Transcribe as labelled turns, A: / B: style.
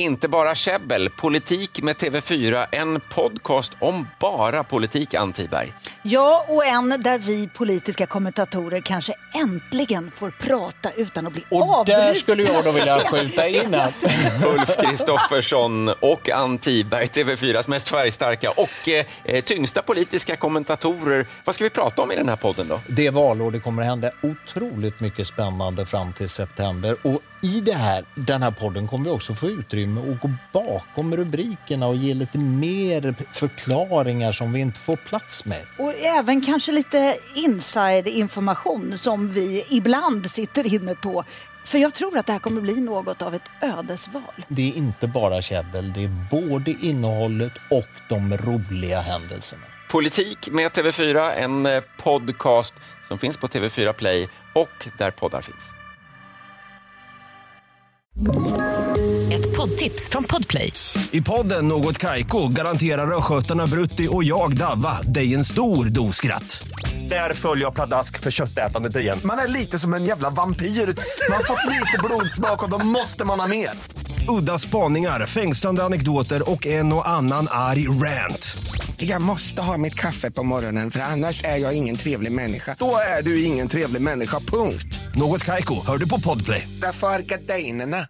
A: Inte bara käbbel, politik med TV4, en podcast om bara politik, Ann Tiberg.
B: Ja, och en där vi politiska kommentatorer kanske äntligen får prata utan att bli
C: Och
B: avbrutna.
C: där skulle jag då vilja skjuta in att
A: Ulf Kristoffersson och Ann Tiberg, TV4s mest färgstarka och eh, tyngsta politiska kommentatorer. Vad ska vi prata om i den här podden då?
C: det är valår, det kommer hända otroligt mycket spännande fram till september. Och i det här, den här podden kommer vi också få utrymme att gå bakom rubrikerna och ge lite mer förklaringar som vi inte får plats med.
B: Och även kanske lite inside-information som vi ibland sitter inne på. För jag tror att det här kommer bli något av ett ödesval.
C: Det är inte bara käbbel, det är både innehållet och de roliga händelserna.
A: Politik med TV4, en eh, podcast som finns på TV4 Play och där poddar finns.
D: Ett poddtips från Podplay.
E: I podden Något Kaiko garanterar östgötarna Brutti och jag, Davva, dig en stor dos skratt. Där följer jag pladask för köttätandet igen.
F: Man är lite som en jävla vampyr. Man har fått lite blodsmak och då måste man ha mer.
E: Udda spaningar, fängslande anekdoter och en och annan arg rant.
F: Jag måste ha mitt kaffe på morgonen för annars är jag ingen trevlig människa. Då är du ingen trevlig människa, punkt.
E: Något Kaiko, hör du på Podplay.
F: Därför arkadeinerna.